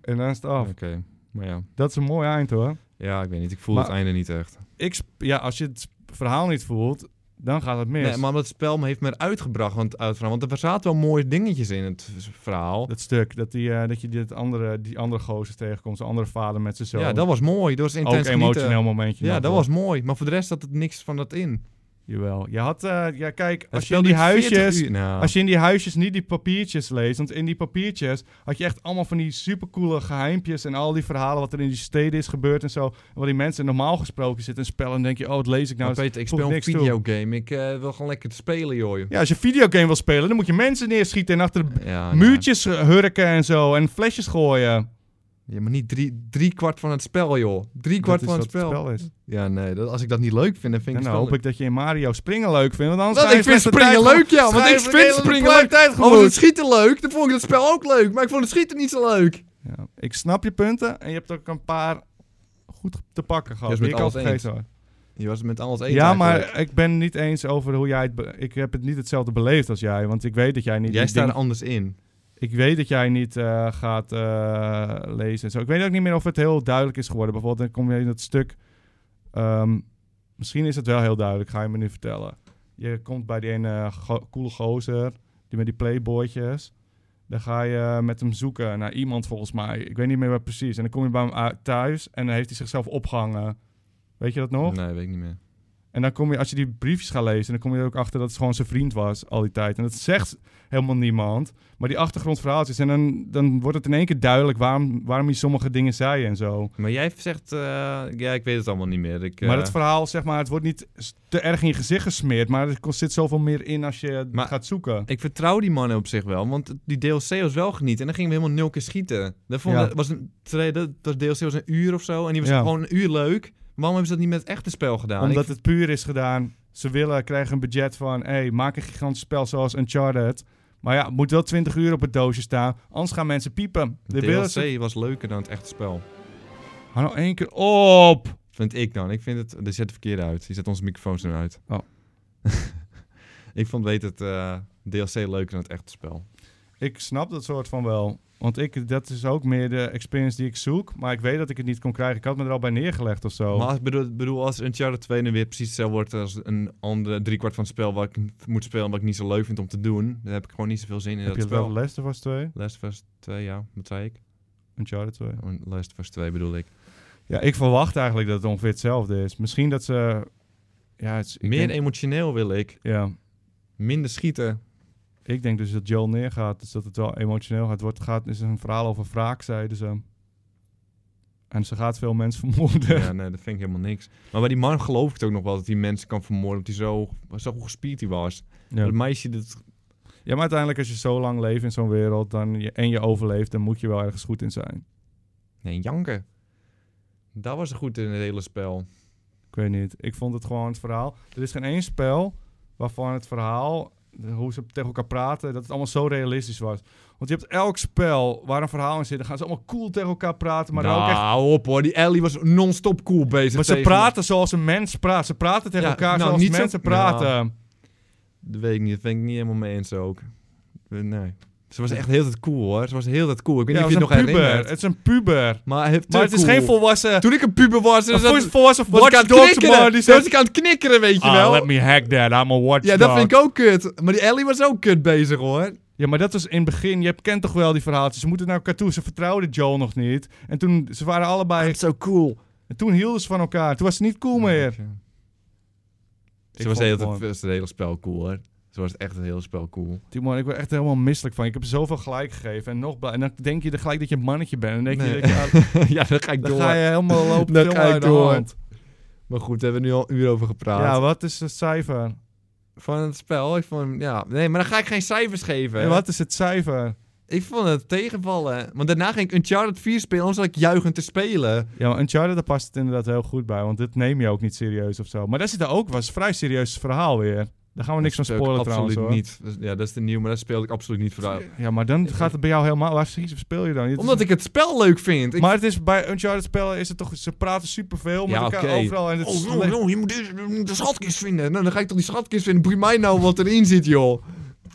En dan is het af. Oké, maar ja. Dat is een mooi eind, hoor. Ja, ik weet niet. Ik voel Maar- het einde niet echt. Ik, sp- ja, als je het s- verhaal niet voelt, dan gaat het mis. Nee, maar dat spel me heeft me eruit gebracht, want, uit, want er zaten wel mooie dingetjes in het v- verhaal. Dat stuk, dat, die, eh, dat je dit andere, die andere gozer tegenkomt. Zijn andere vader met zijn zoon. Ja, dat was mooi. Dat was Ook een intens genieten. emotioneel momentje. Ja, nog, dat hoor. was mooi. Maar voor de rest zat het niks van dat in. Jawel. Je had... eh, ja, kijk, Dat als je in speelde die ik 40 huisjes... uur- Nou, Als je in die huisjes niet die papiertjes leest. Want in die papiertjes had je echt allemaal van die supercoole geheimpjes. En al die verhalen wat er in die steden is gebeurd en zo. En wat die mensen normaal gesproken zitten en spellen. En denk je, oh, wat lees ik nou? maar Peter, ik voegt speel een niks toe. videogame. Ik eh, wil gewoon lekker te spelen, joh. Ja, Ja, als je videogame wil spelen, dan moet je mensen neerschieten. En achter de nou. muurtjes eh, hurken en zo. En flesjes gooien. Ja, maar niet drie, drie kwart van het spel, joh. Drie kwart Dat is van het wat spel. is. nou, Ja, nee. Dat, als ik dat niet leuk vind, dan vind En ik dan het spel hoop ik dat je in Mario springen leuk vindt. Want anders Dat, ga je ik vind slechte springen tijd leuk, ja. gewoon- Want ga ik je vind hele springen blauwe leuk. tijd Oh, gewoon. het schieten leuk. Dan vond ik het spel ook leuk. Maar ik vond het schieten niet zo leuk. Ja, ik snap je punten. En je hebt ook een paar goed te pakken gehad. Dus die met ik al alles eens. vergeten was. Je was het met alles eens Ja, maar eigenlijk. ik ben niet eens over hoe jij het. be- ik heb het niet hetzelfde beleefd als jij, want ik weet dat jij niet. Jij die staat er ding- anders in. ik weet dat jij niet eh, gaat eh, lezen en zo. Ik weet ook niet meer of het heel duidelijk is geworden. Bijvoorbeeld, dan kom je in dat stuk. ehm, misschien is het wel heel duidelijk. Ga je me nu vertellen? Je komt bij die ene go- coole gozer, die met die playboytjes. Dan ga je met hem zoeken naar iemand volgens mij. Ik weet niet meer waar precies. En dan kom je bij hem uit- thuis en dan heeft hij zichzelf opgehangen. Weet je dat nog? Nee, weet ik niet meer. En dan kom je, als je die briefjes gaat lezen, dan kom je er ook achter dat het gewoon zijn vriend was al die tijd. En dat zegt helemaal niemand. Maar die achtergrondverhaaltjes. En dan, dan wordt het in één keer duidelijk waarom, waarom hij sommige dingen zei en zo. Maar jij zegt, eh, ja, ik weet het allemaal niet meer. Ik, Maar eh, het verhaal, zeg maar, het wordt niet s- te erg in je gezicht gesmeerd. Maar er kost- zit zoveel meer in als je het Maar- gaat zoeken. ik vertrouw die mannen op zich wel, want die DLC was wel genieten. En dan gingen we helemaal nul keer schieten. Dat, vond, Ja. dat was een, tre- dat, dat DLC was een uur of zo, en die was Ja. gewoon een uur leuk. Maar Waarom hebben ze dat niet met het echte spel gedaan? Omdat Ik- het puur is gedaan. Ze willen, krijgen een budget van... hey, maak een gigantisch spel zoals Uncharted. Maar ja, het moet wel 20 uur op het doosje staan. Anders gaan mensen piepen. De willen ze... DLC was leuker dan het echte spel. Hou nou één keer op! Vind ik dan. Ik vind het... Er zet de verkeerde uit. Die zet onze microfoons nu uit. Oh. ik vond weet het eh, DLC leuker dan het echte spel. Ik snap dat soort van wel. Want ik, dat is ook meer de experience die ik zoek. Maar ik weet dat ik het niet kon krijgen. Ik had me er al bij neergelegd of zo. Maar als, ik bedoel, bedoel, als Uncharted 2 nu weer precies hetzelfde wordt als een andere driekwart van het spel wat ik n- moet spelen en wat ik niet zo leuk vind om te doen, dan heb ik gewoon niet zoveel zin in Heb dat je het spel. wel Last of Us 2? Last of Us 2, ja. Wat zei ik? Uncharted 2. Oh, Last of Us 2 bedoel ik. Ja, ik verwacht eigenlijk dat het ongeveer hetzelfde is. Misschien dat ze... Ja, het is, ik Meer denk- emotioneel wil ik. Ja, Minder schieten. ik denk dus dat Joel neergaat. Dus dat het wel emotioneel gaat. Wordt, gaat is een verhaal over wraak, zeiden ze. En ze gaat veel mensen vermoorden. ja, nee, dat vind ik helemaal niks. Maar bij die man geloof ik het ook nog wel dat hij mensen kan vermoorden omdat hij zo, zo goed gespierd hij was. Ja. Dat meisje, dat Ja, maar uiteindelijk als je zo lang leeft in zo'n wereld dan je, en je overleeft, dan moet je wel ergens goed in zijn. Nee, janken. Dat was goed in het hele spel. Ik weet niet. Ik vond het gewoon het verhaal. Er is geen één spel waarvan het verhaal, de- hoe ze tegen elkaar praten, dat het allemaal zo realistisch was. Want je hebt elk spel waar een verhaal in zit, dan gaan ze allemaal cool tegen elkaar praten, maar dan ook echt... Nou, hou op hoor, die Ellie was non-stop cool bezig. Maar ze tegen praten zoals een mens praat. Ze praten tegen Ja, elkaar nou, zoals niet zo- nou, mensen praten. me. Dat weet ik niet, dat ben ik niet helemaal mee eens ook. Eh, Nee. Ze was echt heel tijd cool hoor, ze was heel tijd cool. Ik weet Ja, niet het of is je het een nog puber. herinnert. Het is een puber. Maar, hij- te Maar het is cool. geen volwassen... Toen ik een puber was, Een was, was, volwassen was ik watchdog aan het knikkeren. man die Toen was zegt... ik aan het knikkeren, weet je Ah, wel. let me hack that. I'm a watchdog. Ja, dat vind ik ook kut. Maar die Ellie was ook kut bezig hoor. Ja, maar dat was in het begin. Je kent toch wel die verhaaltjes. Ze moeten naar elkaar toe. Ze vertrouwden Joel nog niet. En toen, ze waren allebei... Ah, zo cool. En toen hielden ze van elkaar. Toen was ze niet cool meer. Ze was, vond de hele het tijd- mooi. was het hele spel cool hoor. Ze was echt het hele spel cool. Timon, ik word echt helemaal misselijk van. Ik heb zoveel gelijk gegeven. En nog blij. En dan denk je er gelijk dat je een mannetje bent. En dan denk je, Nee. dat je- ah, ja, dan ga ik dan door. ga je helemaal lopen. Dan veel ga ik uit de door. hand. Maar goed, daar hebben we nu al een uur over gepraat. Ja, wat is het cijfer? Van het spel, ik vond hem- ja. Nee, maar dan ga ik geen cijfers geven. En wat is het cijfer? Ik vond het tegenvallen. Want daarna ging ik Uncharted 4 spelen, anders zat ik juichend te spelen. Ja, maar Uncharted, daar past het inderdaad heel goed bij. Want dit neem je ook niet serieus of zo. Maar daar zit er ook was een vrij serieus verhaal weer. Daar gaan we niks van Dat speel ik spoilen trouwens hoor. absoluut niet. Dat is- Ja, dat is de nieuw, maar dat speelde ik absoluut niet voor. uit. Ja, maar dan gaat het bij jou helemaal... Waar speel je dan? Het is Omdat ik het spel leuk vind. Ik... maar het is bij Uncharted spellen is het toch ze praten superveel met Ja, elkaar oké. overal en het Oh, is no, no, je moet deze- je moet de schatkist vinden. Nou, dan ga ik toch die schatkist vinden. Boeit mij nou wat erin zit, joh.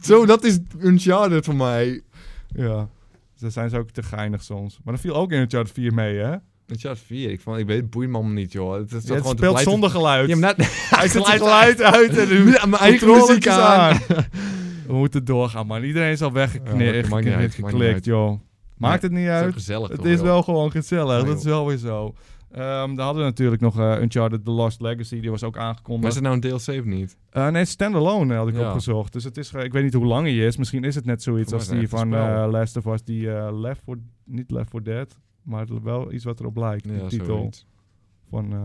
Zo, dat is Uncharted voor mij. ja. Dus daar zijn ze ook te geinig soms. Maar dat viel ook in Uncharted 4 mee, hè? Uncharted 4, ik, vond, ik weet het boeit me allemaal niet, joh. Het, is Ja, gewoon het te speelt pleiten- zonder geluid. Ja, maar net... Hij zet zijn geluid uit en doet Ja, mijn eigen controletjes muziek aan. We moeten doorgaan, man. Iedereen is al Ja, weggeknipt, dat maakt niet uit, maakt niet geklikt, uit. joh. Maakt het niet uit. gezellig, Het is wel gewoon gezellig, Ja, dat is wel weer zo. Ehm daar hadden we natuurlijk nog eh, Uncharted The Lost Legacy, die was ook Maar aangekondigd. is het nou een DLC of niet? Eh, nee, standalone had ik Ja. opgezocht. Dus het is, ge- ik weet niet hoe lang hij is. Misschien is het net zoiets Voor mij als is die het echt van een spel. eh, Last of Us, die eh, Left for, niet Left for Dead, maar het- wel iets wat erop lijkt. de titel zoiets. van eh,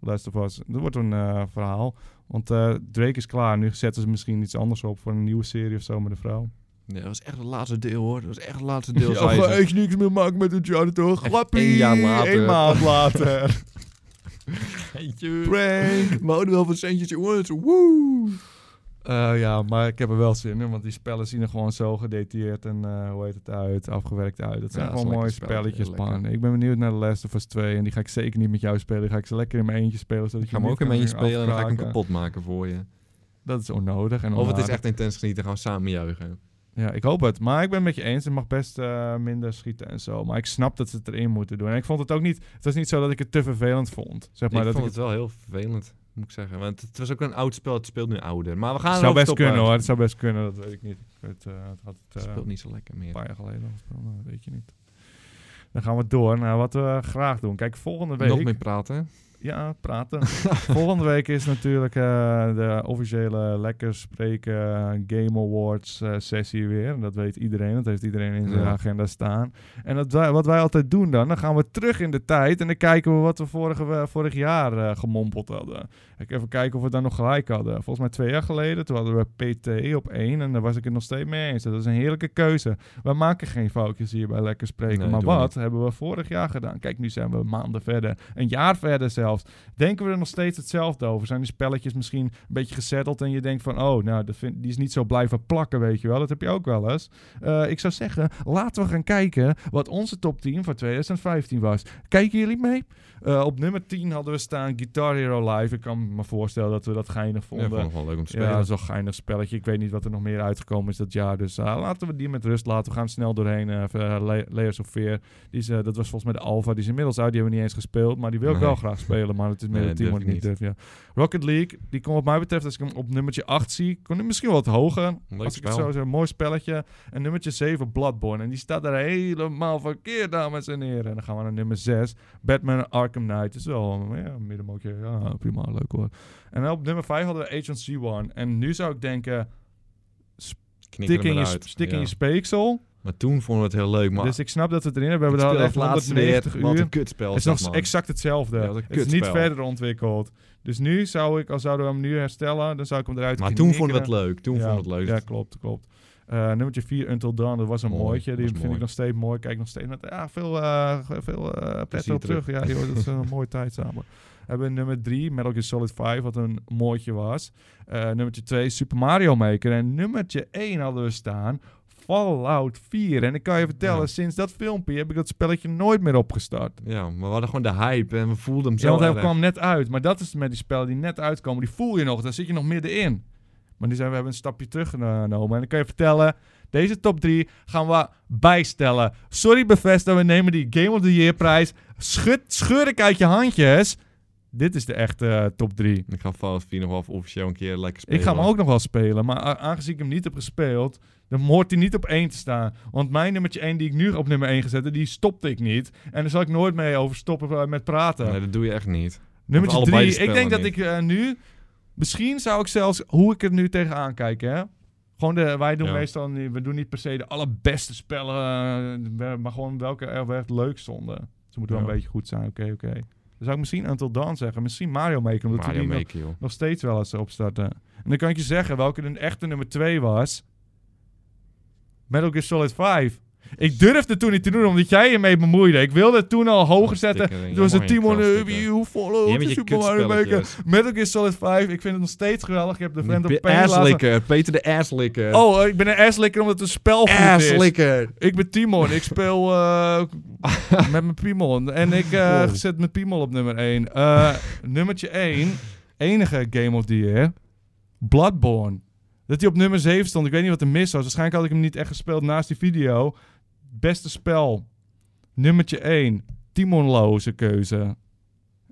Last of Us. Dat wordt een eh, verhaal. Want eh, Drake is klaar. Nu zetten ze misschien iets anders op voor een nieuwe serie of zo met een vrouw. Ja, dat was echt het laatste deel, hoor. Dat was echt het laatste deel, Ja, zei ga ze. echt niks meer maken met Uncharted, hoor. Grappie! één jaar later. Eén maand later. Prank! We houden wel van centjes, jongens. Woe! Eh, ja, maar ik heb er wel zin in, want die spellen zien er gewoon zo gedetailleerd en eh, hoe heet het uit, afgewerkt uit. Dat zijn Ja, dat is gewoon een mooie lekker spelletje, spelletjes, lekker. man. Ik ben benieuwd naar de Last of Us 2 en die ga ik zeker niet met jou spelen. Die ga ik ze lekker in mijn eentje spelen. Zodat Ik ga je hem ook niet in kan mijn spelen en dan ga ik hem afkraken. kapot maken voor je. Dat is onnodig. En Of het is onaardig. echt intens genieten, gaan we samen juichen. Ja, ik hoop het. Maar ik ben het met je eens. Het mag best eh, minder schieten en zo. Maar ik snap dat ze het erin moeten doen. En ik vond het ook niet... Het was niet zo dat ik het te vervelend vond. Zeg maar ik dat vond ik het wel heel vervelend, moet ik zeggen. Want het was ook een oud spel, het speelt nu ouder. Maar we gaan het zou erover best stoppen. kunnen hoor. Het zou best kunnen, dat weet ik niet. Ik weet, eh, het had Het het eh, speelt niet zo lekker meer. een paar jaar geleden al gespeeld, maar dat weet je niet. Dan gaan we door naar wat we graag doen. Kijk, volgende week... Nog meer praten. Ja, praten. Volgende week is natuurlijk eh, de officiële Lekker Spreken eh, Game Awards eh, sessie weer. En Dat weet iedereen, dat heeft iedereen in zijn Ja. agenda staan. En dat wij- wat wij altijd doen dan, dan gaan we terug in de tijd en dan kijken we wat we vorige, we- vorig jaar eh, gemompeld hadden. Ik even kijken of we daar nog gelijk hadden. Volgens mij twee jaar geleden, toen hadden we PT op één en daar was ik het nog steeds mee eens. Dat is een heerlijke keuze. We maken geen foutjes hier bij Lekker Spreken. Nee, maar doen we wat hebben we vorig jaar gedaan? Kijk, nu zijn we maanden verder. Een jaar verder zelfs. Denken we er nog steeds hetzelfde over? Zijn die spelletjes misschien een beetje gezetteld en je denkt van... oh, nou, dat vind, die is niet zo blijven plakken, weet je wel. Dat heb je ook wel eens. Eh, ik zou zeggen, laten we gaan kijken wat onze top 10 van 2015 was. Kijken jullie mee? Eh, op nummer 10 hadden we staan Guitar Hero Live. Ik kan me voorstellen dat we dat geinig Ja, ik vonden. vond het wel leuk om te spelen. Ja, dat is wel een geinig spelletje. Ik weet niet wat er nog meer uitgekomen is dat jaar. Dus eh, laten we die met rust laten. We gaan snel doorheen. eh eh, La- Layers of Fear. Die is, eh, dat was volgens mij de Alpha. Die is inmiddels uit. Die hebben we niet eens gespeeld. Maar die wil ik Nee. wel graag spelen. Maar het is meer Nee, het team wat durf ik ik niet durf. Ja. Rocket League. Die kon wat mij betreft, als ik hem op nummertje 8 zie, kon hij misschien wat hoger. Leuk als ik het spel. zo zeg. Mooi spelletje. En nummertje 7, Bloodborne. En die staat daar helemaal verkeerd, dames en heren. En dan gaan we naar nummer 6. Batman Arkham Knight. Is wel eh, ja, een middenmootje. Ja, prima. Leuk hoor. En dan op nummer 5 hadden we Agent C1. En nu zou ik denken, Knik er tik in, maar je, uit. stik in Ja. je speeksel. Maar toen vonden we het heel leuk, maar... Dus ik snap dat we het erin hebben. ik We speelde hadden echt het laatst weer. 190 Wat uur. een kutspel. Het is is dat, nog man. exact hetzelfde. Ja, wat een het is niet kutspel. verder ontwikkeld. Dus nu zou ik, als zouden we hem nu herstellen, dan zou ik hem eruit Maar toen vonden we het knikkeren. leuk. Toen ja, vonden we het leuk. Ja, klopt, klopt. Eh, nummertje 4, Until Dawn, dat was een Mooi, mooitje. Die was vind mooi. ik nog steeds mooi. Kijk nog steeds met ja, veel, eh veel eh pret Plezier op terug. Ja, joh, dat is een mooie tijd samen. Hebben we nummer 3, Metal Gear Solid 5, wat een mooitje was. Eh nummertje 2, Super Mario Maker. En nummertje 1 hadden we staan, Fallout 4. En ik kan je vertellen, Ja. sinds dat filmpje heb ik dat spelletje nooit meer opgestart. Ja, maar we hadden gewoon de hype en we voelden hem zo Ja, want hij erg. kwam net uit. Maar dat is met die spellen die net uitkomen. Die voel je nog. Daar zit je nog middenin. Maar nu zijn we hebben een stapje teruggenomen. En dan kan je vertellen... Deze top 3 gaan we bijstellen. Sorry Bethesda, we nemen die Game of the Year prijs. Schud, scheur ik uit je handjes. Dit is de echte eh, top 3. Ik ga Fallout 4 nog wel even officieel een keer lekker spelen. Ik ga hem ook nog wel spelen. Maar a- aangezien ik hem niet heb gespeeld... dan hoort hij niet op 1 te staan. Want mijn nummertje 1 die ik nu op nummer 1 gezet heb... die stopte ik niet. En daar zal ik nooit mee over stoppen eh, met praten. Nee, dat doe je echt niet. Nummer Of allebei de 3. Ik denk spellen dat ik niet. eh, nu... Misschien zou ik zelfs... Hoe ik er nu tegenaan kijk, hè? Gewoon de, wij doen Ja. meestal... niet- We doen niet per se de allerbeste spellen. eh, we- Maar gewoon welke er wel echt leuk stonden. Ze moeten wel Ja. een beetje goed zijn. Oké, oké. Dan zou ik misschien Until Dawn zeggen. Misschien Mario Maker. Omdat we Mario die nog, Maker, joh. nog steeds wel eens opstarten. En dan kan ik je zeggen welke de echte nummer 2 was. Metal Gear Solid 5. Ik durfde toen niet te doen, omdat jij je mee bemoeide. Ik wilde het toen al hoger zetten. Stikken, Toen was jammer, het Timon, je kan eh, stikken. you follow, Jij het met is je Super Mario Maker. kutspelletjes. Metal Gear Solid 5, ik vind het nog steeds geweldig. Ik heb de Friend of Pe- Pain laten... Asslikker, Peter de Asslikker. Oh, eh, ik ben een asslikker omdat het een spel goed is. Asslikker. Ik ben Timon, ik speel eh, met mijn Piemon. En ik eh, Wow. zet mijn Piemon op nummer 1. nummertje 1, enige Game of the Year, Bloodborne. Dat hij op nummer 7 stond, ik weet niet wat er mis was. Waarschijnlijk had ik hem niet echt gespeeld naast die video. Beste spel, nummertje 1, Timonloze keuze.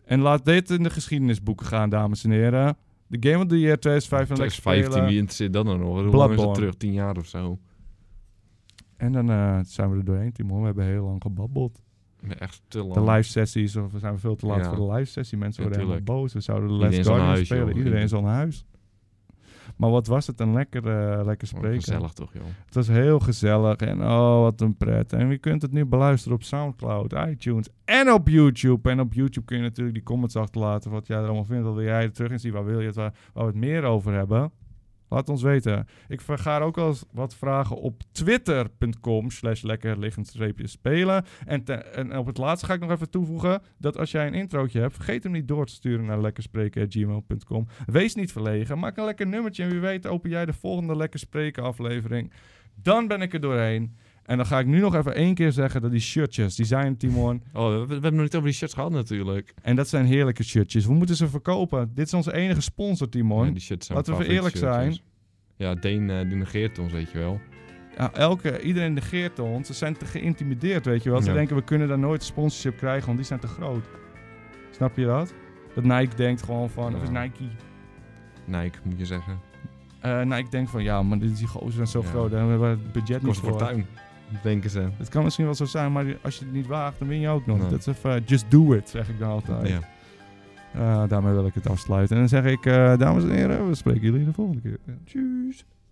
En laat dit in de geschiedenisboeken gaan, dames en heren. De Game of the Year 2015 lekker 15, spelen. wie interesseert dat dan nog? Hoe lang is Bloodborne. het terug? 10 jaar of zo? En dan eh, zijn we er doorheen, Timon. We hebben heel lang gebabbeld. Ik ben Echt te lang. Oh, De live sessies, of we zijn veel te laat eh, Ja. voor de live sessie. Mensen Ja, worden helemaal boos. We zouden de Iedereen Last is aan Guardian huis, spelen. joh. Iedereen is al naar huis. Maar wat was het een lekker, eh, lekker Oh, spreken. Gezellig toch, joh. Het was heel gezellig en oh, wat een pret. En je kunt het nu beluisteren op Soundcloud, iTunes en op YouTube. En op YouTube kun je natuurlijk die comments achterlaten wat jij er allemaal vindt. Wat wil jij er terug in zien? Waar wil je het, waar, waar we het meer over hebben? Laat ons weten. Ik vergaar ook wel eens wat vragen op twitter.com slash lekker liggend streepje spelen. En, te- en op het laatste ga ik nog even toevoegen dat als jij een introotje hebt, vergeet hem niet door te sturen naar lekkerspreken.gmail.com. Wees niet verlegen, maak een lekker nummertje en wie weet open jij de volgende Lekker Spreken aflevering. Dan ben ik er doorheen. En dan ga ik nu nog even één keer zeggen dat die shirtjes, die zijn Timon. Oh, we, we hebben nog niet over die shirts gehad natuurlijk. En dat zijn heerlijke shirtjes. We moeten ze verkopen. Dit is onze enige sponsor, Timon. Ja, die shirts zijn Laten we mijn favoriete eerlijk shirts. Ja, Deen eh, die negeert ons, weet je wel. Ja, elke, iedereen negeert ons. Ze zijn te geïntimideerd, weet je wel. Ze Ja. denken, we kunnen daar nooit sponsorship krijgen, want die zijn te groot. Snap je dat? Dat Nike denkt gewoon van, of is Ja. Nike? Nike, moet je zeggen. Eh Nike denkt van, ja, maar dit- die gozer zijn zo Ja. groot. Daar hebben we het budget niet Kost een voor. fortuin, denken ze. Het kan misschien wel zo zijn, maar als je het niet waagt, dan win je ook nog. Nee. Dat is even, eh, just do it, zeg ik dan altijd. Ja. Eh, daarmee wil ik het afsluiten. En dan zeg ik, eh, dames en heren, we spreken jullie de volgende keer. Tjus.